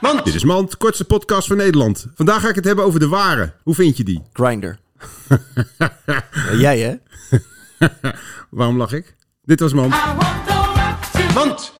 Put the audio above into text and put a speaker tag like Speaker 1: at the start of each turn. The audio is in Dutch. Speaker 1: Mand.
Speaker 2: Dit is Mand, kortste podcast van Nederland. Vandaag ga ik het hebben over de ware. Hoe vind je die?
Speaker 1: Grinder. jij hè?
Speaker 2: Waarom lach ik? Dit was Mand.
Speaker 3: I want the rock to
Speaker 1: Mand.